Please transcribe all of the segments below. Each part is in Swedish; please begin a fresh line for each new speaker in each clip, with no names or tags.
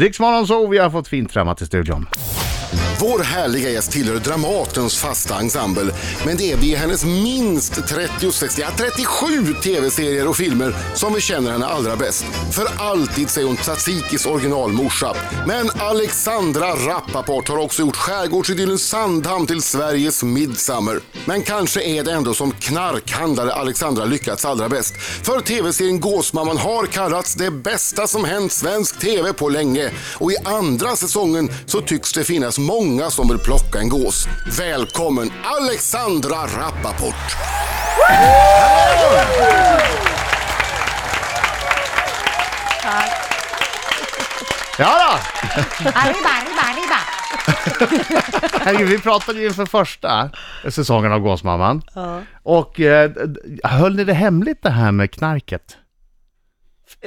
Riksmorgon så vi har fått fint främmat i studion.
Vår härliga gäst tillhör Dramatens fasta ensemble, men det är via hennes minst 30, 60, ja, 37 tv-serier och filmer som vi känner henne allra bäst. För alltid säger hon Tsatikis originalmorsa. Men Alexandra Rappaport har också gjort skärgårdsidyllen Sandhamn till Sveriges Midsummer. Men kanske är det ändå som knarkhandlare Alexandra lyckats allra bäst. För tv-serien Gåsmamman har kallats det bästa som hänt svensk tv på länge. Och i andra säsongen så tycks det finnas många som vill plocka en gås. Välkommen Alexandra Rappaport!
Ja då!
Arriba, arriba, arriba.
Herregud, vi pratade ju inför första säsongen av Gåsmamman. Och eh, d- d- höll ni det hemligt det här med knarket?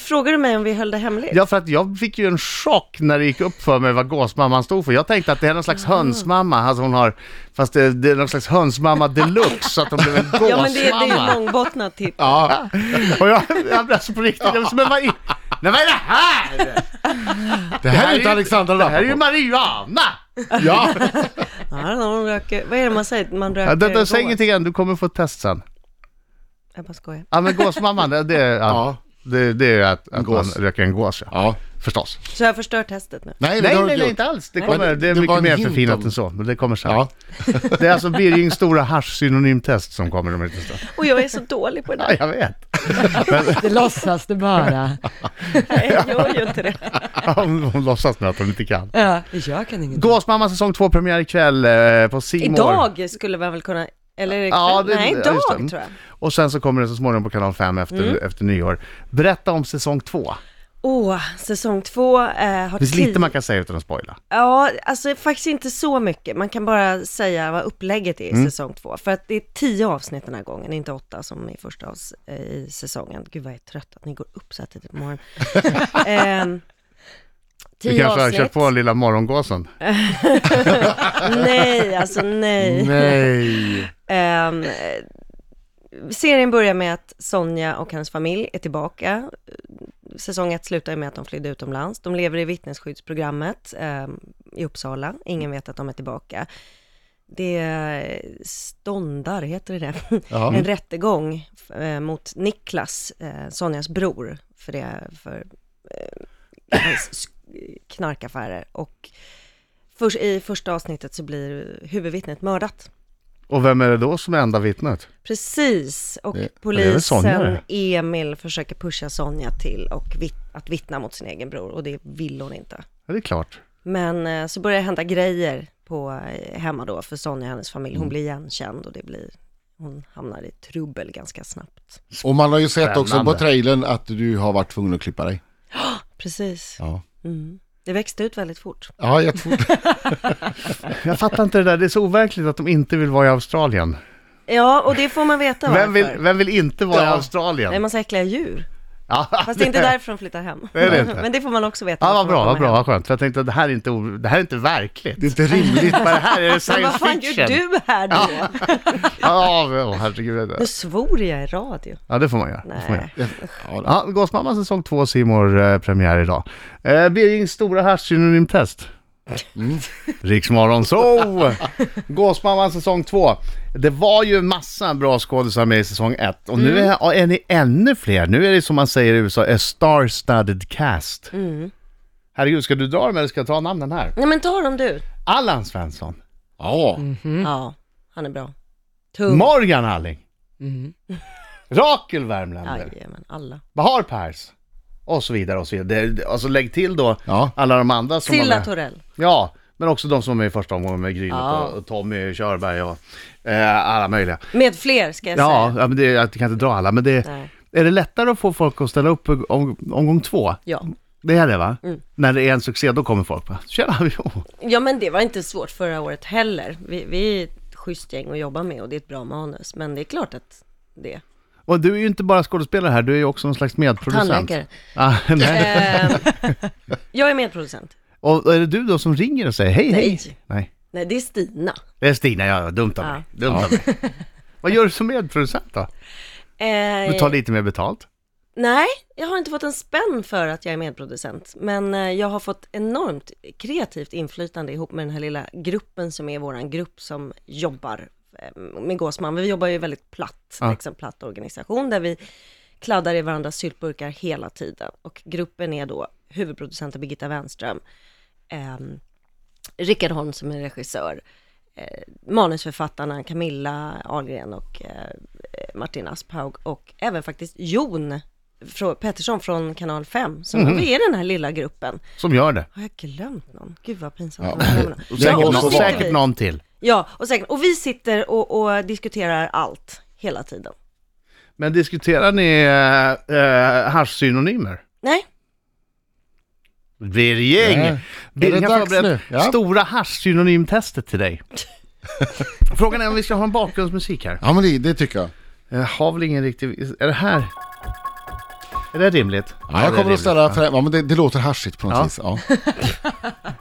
Frågar du mig om vi höll det hemligt?
Ja, för att jag fick ju en chock när det gick upp för mig vad gåsmamman stod för. Jag tänkte att det är någon slags hönsmamma, alltså hon har, fast det, det är någon slags hönsmamma deluxe, så att hon blev en gåsmamma.
Ja, men det, det är ju långbottnat titt.
Ja, och jag, jag blev alltså på riktigt, jag blev som en vad i- Nej, vad är det här?
Det här är ju inte Alexandra
Det här är ju
Lappaport.
Mariana!
Ja.
Ja, de röker, vad är det man säger? Man röker
Ja, det, det, säg
gås.
ingenting än, du kommer få ett test sen.
Jag bara skojar.
Ja, men gåsmamman, det, det, är- ja,
Ja.
det, det är ju att, att man
gås.
röker en gås, ja.
ja.
Förstås.
Så jag förstör testet nu.
Nej, det
Nej,
har du
nej, nej,
gjort.
inte alls. Det,
Nej.
kommer,
Men
det är
det var
mycket
en
mer
hint
förfinat
om-
än så, men det kommer sen.
Ja.
Det är alltså Birgings stora hasch-synonymtest som kommer om en liten stund.
Och jag är så dålig på det
Ja,
där.
jag vet.
Det låtsas du bara.
Nej, jag gör ju inte det.
Hon, hon låtsas nu att hon inte kan.
Ja, jag kan ingenting.
Gåsmamma säsong 2 premiär ikväll eh, på C More.
Idag skulle man väl kunna... Eller är det
Ja,
ja,
det-
Nej,
ja,
idag
just det.
tror jag. Mm.
Och sen så kommer den så småningom på kanal 5 efter, efter nyår. Berätta om säsong 2.
Åh, säsong två eh, har
Det finns
tio-
lite man kan säga utan att spoila.
Ja, alltså faktiskt inte så mycket. Man kan bara säga vad upplägget är
Mm.
i säsong två. För att det är tio avsnitt den här gången, inte åtta som i första avs- eh, i säsongen. Gud vad jag är trött att ni går upp så här tidigt på morgonen. Ehm,
Du
tio
kanske har
avsnitt.
kört på lilla morgongåsen.
Nej, alltså nej.
Nej.
Ehm, eh, serien börjar med att Sonja och hennes familj är tillbaka. Eh, Säsong ett slutar ju med att de flydde utomlands. De lever i vittnesskyddsprogrammet ehm, i Uppsala. Ingen vet att de är tillbaka. Det är ståndar, heter det det?
Ja.
En rättegång eh, mot Niklas, eh, Sonjas bror, för, det, för eh, hans sk- knarkaffärer. Och först, i första avsnittet så blir huvudvittnet mördat.
Och vem är det då som är enda vittnet?
Precis, och
det är väl Sonja
polisen
det?
Emil försöker pusha Sonja till och vit- att vittna mot sin egen bror och det vill hon inte.
Ja, det är klart.
Men eh, så börjar det hända grejer på, eh, hemma då för Sonja och hennes familj.
Mm.
Hon blir igenkänd och det blir, hon hamnar i trubbel ganska snabbt.
Och man har ju sett också på
Spännande.
trailern att du har varit tvungen att klippa dig.
Precis.
Ja,
Mm. Det växte ut väldigt fort.
ja jag tror det.
Jag fattar inte det där, det är så overkligt att de inte vill vara i Australien.
Ja, och det får man veta
Vem vill,
varför.
vem vill inte vara i
Ja.
Det är en
Australien?
massa äckliga djur.
Ja,
Fast det är inte därför de flyttar hem.
Det är det inte.
Men det får man också veta.
Ja, vad
varför de
bra, vad bra,
kommer hem.
vad skönt. För jag tänkte att det här är inte, o- det här är inte verkligt.
Det är inte rimligt.
Vad det här är
Men
science
vad fan gör
fiction.
du här då?
Ja, åh, herregud.
Nu svor jag i radio.
Ja, det får man göra. Det får man göra.
Nej.
Ja, då.
Ja, Gåsmamman säsong 2, Simor eh, premiär idag. Eh, Birgings stora haschsynonymtest.
Mm.
Riksmorgon så! Gåsmamman säsong 2. Det var ju massa bra skådisar med i säsong 1 och nu är, är ni ännu fler. Nu är det som man säger i USA, a star-studded cast. Herregud, ska du dra dem eller ska jag ta namnen här?
Nej men ta dem du.
Allan Svensson,
ja.
Mm.
Ja, han är bra. Tung.
Morgan Alling, Rakel Värmländer,
Jajamän, alla.
Bahar Pers och så vidare och så vidare. Det- det- Alltså lägg till då
Ja.
alla de andra som var
Silla
med.
Torell.
Ja, men också de som var med i första omgången med Grynet
Ja.
och, och Tommy Körberg och eh, alla möjliga.
Med fler ska jag
Ja,
säga.
ja, men det, jag kan inte dra alla, men det,
Nej.
är det lättare att få folk att ställa upp om, omgång två?
Ja.
Det är det va?
Mm.
När det är en succé, då kommer folk bara, tjena, jo.
ja, men det var inte svårt förra året heller. Vi, vi är ett schysst gäng att jobba med och det är ett bra manus. Men det är klart att det.
Och du är ju inte bara skådespelare här, du är ju också någon slags medproducent.
Tandläkare.
Ah, nej.
Ehm, jag är medproducent.
Och och är det du då som ringer och säger hej, hej?
Nej.
Nej.
Nej, det är Stina.
Det är Stina, ja, dumt av mig. Dumt av mig. Vad gör du som medproducent då?
Ehm,
Du tar lite mer betalt?
Nej, jag har inte fått en spänn för att jag är medproducent, men eh, jag har fått enormt kreativt inflytande ihop med den här lilla gruppen som är våran grupp som jobbar eh, med Gåsman. Vi jobbar ju väldigt platt,
Ja.
liksom platt organisation, där vi kladdar i varandras syltburkar hela tiden. Och gruppen är då huvudproducenten Birgitta Wenström, ehm, Rickard Holm som är regissör, eh, manusförfattarna Camilla Ahlgren och eh, Martin Asphaug och även faktiskt Jon Frå- Pettersson från kanal 5, som vi är den här lilla gruppen.
som gör det.
Har jag glömt någon? Gud vad pinsamt.
Ja.
Ja.
Säkert
och
någon-
så
Och
sitter
säkert
vi-
någon till.
Ja, och säkert. Och vi sitter och, och diskuterar allt hela tiden.
Men diskuterar ni eh, eh, haschsynonymer?
Nej,
Virging!
Nej.
Birging
Är det
har
dags
förberett
nu? Ja.
stora haschsynonymtestet till dig. Frågan är om vi ska ha en bakgrundsmusik här.
Ja men det, det tycker jag.
Jag har väl ingen riktig... Är det här... Är det rimligt?
Ja,
det är
jag kommer att
rimligt.
ställa för, ja, men det, det låter haschigt på något
Ja.
vis. Ja.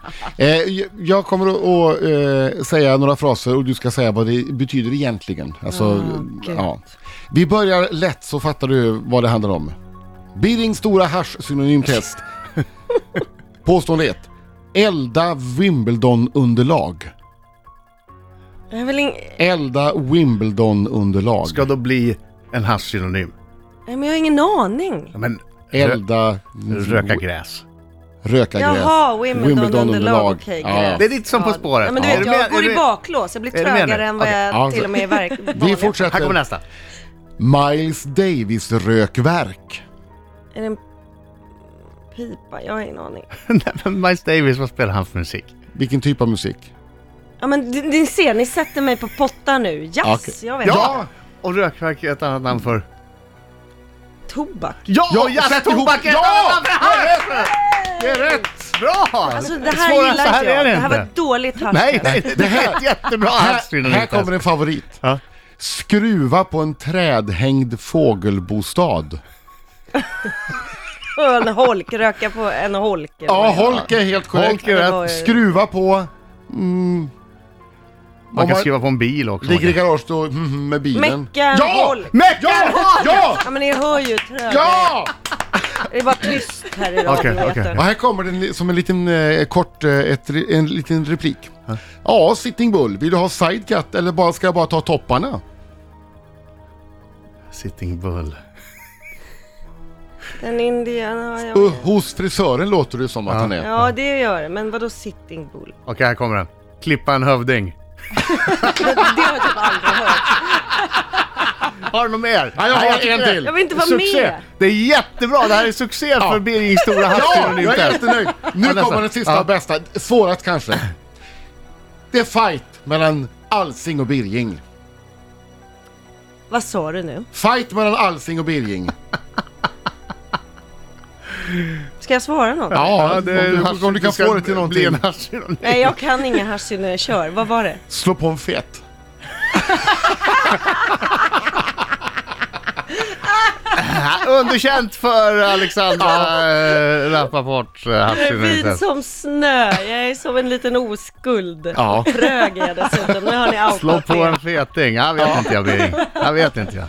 eh, jag- jag kommer att att, eh, säga några fraser och du ska säga vad det betyder egentligen. Alltså,
Ah,
ja. Vi börjar lätt så fattar du vad det handlar om. Birrings stora hasch-synonymtest. Påstående 1. Elda Wimbledon-underlag.
jag vill in... Nej,
Elda Wimbledon-underlag.
Ska då bli en haschsynonym.
men jag har ingen aning.
Ja, Men rö-
Elda...
röka
Mm.
gräs.
Röka gräs.
Jaha, Wimbledon-underlag. Okej,
Ja, ja.
gräs.
Det är lite som På
Ja.
spåret.
Ja, men du
Ja.
vet,
Är du med-
jag går
är
i
du-
bakklås. Jag blir
är du med nu?
trögare än vad
Okej,
jag
ja,
till och med är verk...
Vi
vanliga.
Här kommer
fortsätter.
nästa.
Miles Davis-rökverk.
Är det en pipa? Jag har ingen aning.
Nej, men Miles Davis, vad spelar han för musik?
Vilken typ av musik?
Ja, men ni, ni ser, ni sätter mig på potta nu. Jazz,
Okej.
jag vet
Ja! Och rökverk är ett annat namn för...
inte. Tobak.
Ja!
Ja,
och Jazz
sätt ihop-
Tobak är ett
Ja!
annat namn för hasch! Det är rätt! Bra!
Alltså det här
Svårare än
gillar
så
inte jag.
är
Det,
det
här
inte.
var ett dåligt hasch.
Nej, nej, det här är ett jättebra
Här,
haschsynonym.
här kommer en favorit.
Ja.
Skruva på en trädhängd fågelbostad.
Och en holk, röka på en holk. eller vad
Ja,
det heter.
holk är helt korrekt.
Holk är
Det var
rätt.
ju-
Skruva på... Mm,
Man
om
kan skriva på en bil också.
Ligger i garaget och mm, med bilen.
Meckan
ja!
holk.
Meckan holk! Ja!
Ja men ni hör ju trög.
Ja!
Det är bara tyst här i
Okej,
radion. vet
okej.
du.
Och här kommer den li- som en liten eh, kort, eh, ett, re- en liten replik. Ja, Sitting Bull, vill du ha sidecut eller bara, ska jag bara ta topparna?
Sitting Bull.
Den indien har jag...
Uh, hos frisören låter det som att han är.
Ja det gör det, men vadå sitting bull?
Okej, här kommer den. Klippa en hövding.
Det har jag typ aldrig hört.
Har du något mer?
Ja, jag har
tycker
en
det-
till.
Jag vill inte vara
succé.
med.
Det är jättebra, det här är succé för Birgings stora
Ja, jag är
haschsynonym.
jättenöjd. Nu
Ja, nästan.
kommer den sista
Ja.
och bästa. Svårast kanske. Det är fight mellan Alsing och Birging.
Vad sa du nu?
Fight mellan Alsing och Birging.
Ska jag svara något?
Ja, om, du, om du kan få det till någonting.
en haschsynonym.
Nej jag kan inga haschsyner, kör. Vad var det?
Slå på en fet.
Underkänt för Alexandra äh, Rappaport äh,
Vit
haschsynonymt.
som snö, jag är som en liten oskuld.
Ja.
Trög är jag dessutom, nu har ni outat
Slå på
det.
en feting. Jag vet inte jag Birging. Jag vet inte jag.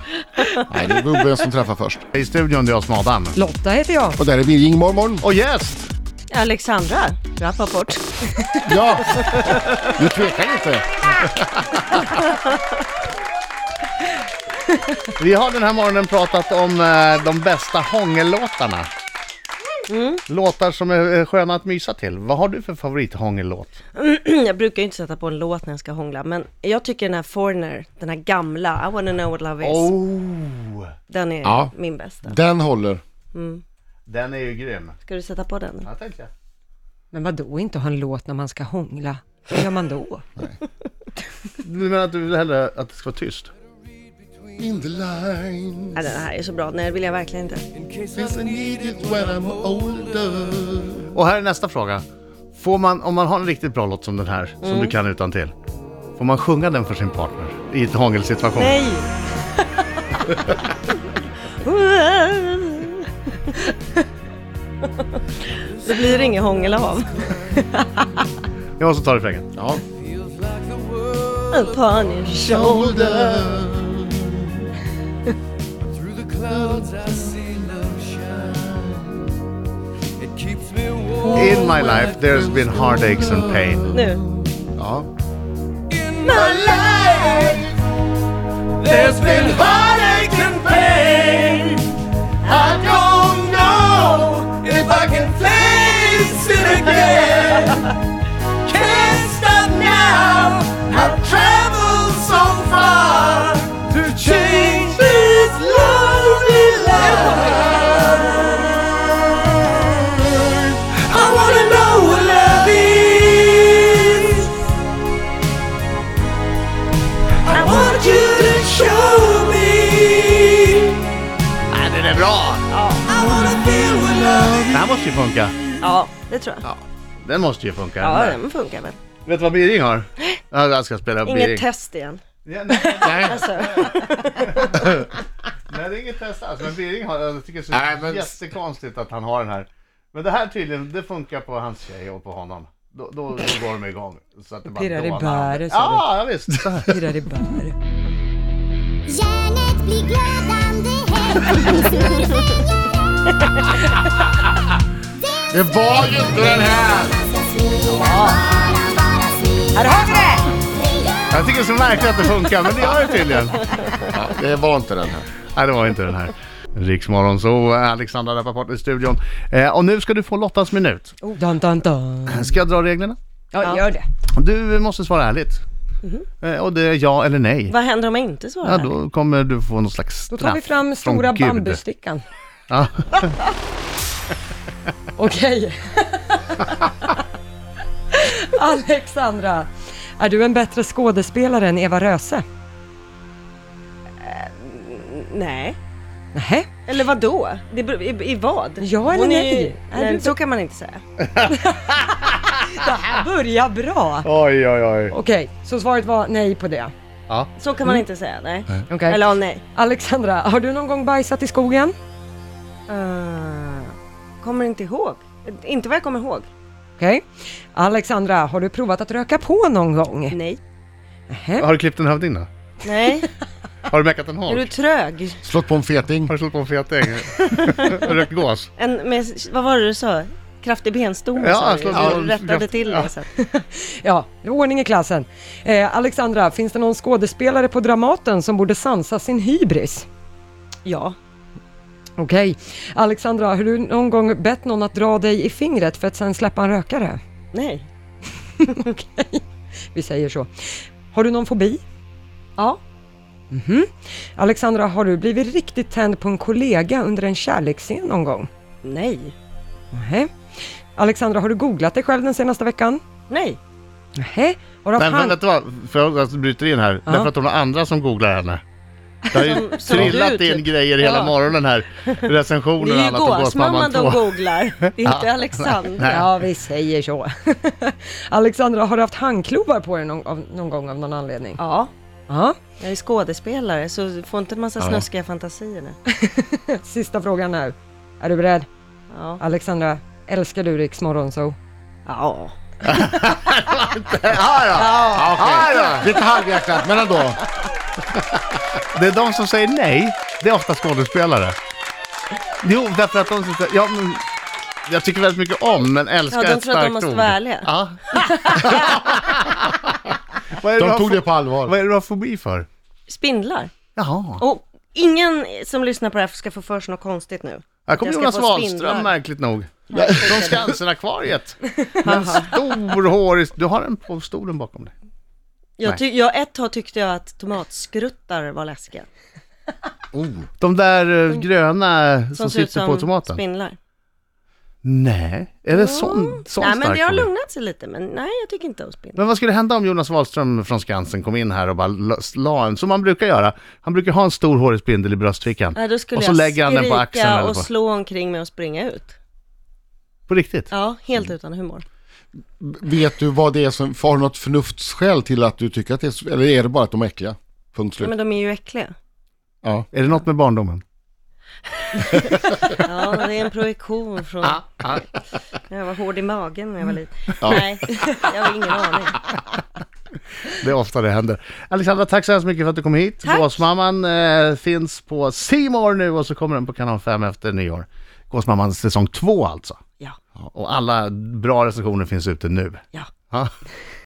Nej, det är gubben som träffar först.
I studion det är jag som är Adam.
Lotta heter jag.
Och där är Birging morgon.
Och gäst!
Alexandra Rappaport.
Ja, du tvekar inte.
Vi har den här morgonen pratat om eh, de bästa hångellåtarna. Låtar som är eh, sköna att mysa till. Vad har du för favorithångellåt?
jag brukar ju inte sätta på en låt när jag ska hångla, men jag tycker den här Foreigner, den här gamla, I wanna know what love is,
Oh!
den är
Ja.
min bästa.
Den håller.
Den är ju grym.
Ska du sätta på den?
Ja, tänkte jag.
Men vad då inte ha en låt när man ska hångla? Hur gör man då?
Du menar att du vill hellre att det ska vara tyst?
In the line,
Nej, den här är så bra, nej det vill jag verkligen inte.
since I need it when I'm older.
Och här är nästa fråga. Får man, om man har en riktigt bra låt som den här, som du
Mm.
kan utan till. Får man sjunga den för sin partner i ett hångelsituation?
Nej! det blir inget hångel av.
Jag måste ta refrängen.
Ja.
Upon your shoulder.
Older.
In my life there's been heartaches and pain.
Nu.
Ja.
There's been heartache and pain. I don't know if I can face it again. Can't stop now. I've traveled so far to change this lonely life. I wanna know what love is. I want you to show me.
Ja, den är bra!
I wanna feel what love
Den här måste ju funka.
Ja, det tror jag. Ja,
Den måste ju funka. den
den funkar
där.
väl.
Vet du vad Biring har? Ja, Jag ska spela Biring.
Inget test igen.
Ja, nej,
Nej.
Alltså,
nej, det är inget test alls. Men Biring har, jag tycker det är så
Nej, men-
jättekonstigt att han har den här. Men det här tydligen, det funkar på hans tjej och på honom. Då, då, då går de igång. Så att det bara
Pirrar i
dånar.
bäret, sa
Ja, ja, visst.
Pirrar i bär.
Järnet blir glödande hett.
Det var ju inte den här!
Här har vi det!
Jag tycker det är så märkligt att det funkar, men det gör det tydligen.
Ja, det var inte den här.
Nej, det var inte den här. Riksmorgon så Alexandra Rappaport i studion. Eh, och nu ska du få Lottas minut.
Oh. Dun, dun, dun.
Ska jag dra reglerna?
Ja, gör det.
Du måste svara ärligt.
Mhm.
Eh, och det är ja eller nej.
Vad händer om jag inte svarar?
Ja, då kommer du få någon slags
Då
straff
tar vi fram
från
stora
Gud.
bambustickan.
Ja.
Okej. Alexandra, är du en bättre skådespelare än Eva Röse?
Nej.
Nähä?
Eller vad då? Det beror, i, I vad?
Ja eller
Hon är
nej?
ju-
Är
nej
du-
så kan man inte säga.
Ah. Börja bra!
Oj, oj, oj.
Okej, så svaret var nej på det.
Så kan man
Mm.
inte säga, nej.
Okej.
Eller ja, nej.
Alexandra, har du någon gång bajsat i skogen? Ah.
Eh, kommer inte ihåg. Inte vad jag kommer ihåg.
Okej. Alexandra, har du provat att röka på någon gång?
Nej.
Nähä?
Har du klippt en hövding då?
Nej.
Har du meckat en
Är du
hak?
trög?
Slått på en feting.
Har du slått på en feting? Har du rökt gås?
En, med, vad var det du sa? Kraftig benstomme
Ja,
sa du.
slå-
ju.
ja,
Du rättade
kraft-
till
ja.
det sen.
Ja, det är ordning i klassen. Eh, Alexandra, finns det någon skådespelare på Dramaten som borde sansa sin hybris?
Ja.
Okej. Alexandra, har du någon gång bett någon att dra dig i fingret för att sen släppa en rökare?
Nej.
Okej, vi säger så. Har du någon fobi? Mhm.
Ja.
Alexandra, har du blivit riktigt tänd på en kollega under en kärleksscen någon gång?
Nej.
Nej. Alexandra, har du googlat dig själv den senaste veckan?
Nej.
Nej. Har du
Nej,
haft
men
hand...
vet du vad? För jag alltså, bryter in här.
Ja.
Därför att hon har andra som googlar henne. Det har ju
som
trillat
du,
in
typ.
grejer hela
Ja.
morgonen här.
Det
Recensioner och
är ju
annat om
gåsmamman
Gåsmamman 2.
de googlar. Det är inte Alexandra.
Ja, vi säger så. Alexandra, har du haft handklovar på dig någon, av, någon gång av någon anledning?
Ja.
Ja.
Jag är skådespelare så får inte en massa snuskiga fantasier nu.
Sista frågan nu. Är du beredd?
Ja.
Alexandra, älskar du Riks Morgonzoo?
Ja.
Ah,
Ja, ja.
Okay. Lite halvhjärtat, men ändå.
Det är de som säger nej, det är ofta skådespelare. Jo, därför att de sitter... Ja, men, jag tycker väldigt mycket om, men älskar
Ja, de
ett
tror att de
starkt
måste
ord.
vara ärliga.
Ja. Vad är du
De
har
tog
fo-
det på
Vad
allvar.
är det du har fobi för?
Spindlar.
Jaha.
Och ingen som lyssnar på det här ska få för sig något konstigt nu.
Här kommer
Jag ska
Jonas
få
Wahlström
spindlar.
märkligt nog. Från Skansen-akvariet. Med en stor hårig... Du har den på stolen bakom dig.
Jag
Nej.
ty- jag, ett tag tyckte jag att tomatskruttar var läskiga.
Oh.
De där eh, gröna som,
Mm. Som ser ut
sitter på
som
tomaten.
spindlar.
Nej, är det sån, sån
Nej men
stark
det har
fobi?
lugnat sig lite, men nej jag tycker inte om spindlar.
Men vad skulle hända om Jonas Wahlström från Skansen kom in här och bara la- la en, som han brukar göra. Han brukar ha en stor hårig spindel i bröstfickan.
Nej, då skulle
och så
jag
lägger han den på
skrika
axeln eller
och
på.
slå omkring mig och springa ut.
På riktigt?
Ja, helt
Mm.
utan humor.
Vet du vad det är som, har du något förnuftsskäl till att du tycker att det är, så- eller är det bara att de är äckliga? Punkt slut.
Men de är ju äckliga.
Ja.
Är det något med barndomen?
Ja, det är en projektion från... Jag var hård i magen när jag var liten. Nej, jag har ingen aning.
Det är ofta det händer. Alexandra, tack så hemskt mycket för att du kom hit.
Tack.
Gåsmamman eh, finns på C More nu och så kommer den på Kanal 5 efter nyår. Gåsmamman säsong 2 alltså.
Ja,
Och alla bra recensioner finns ute nu.
ja.
Ja.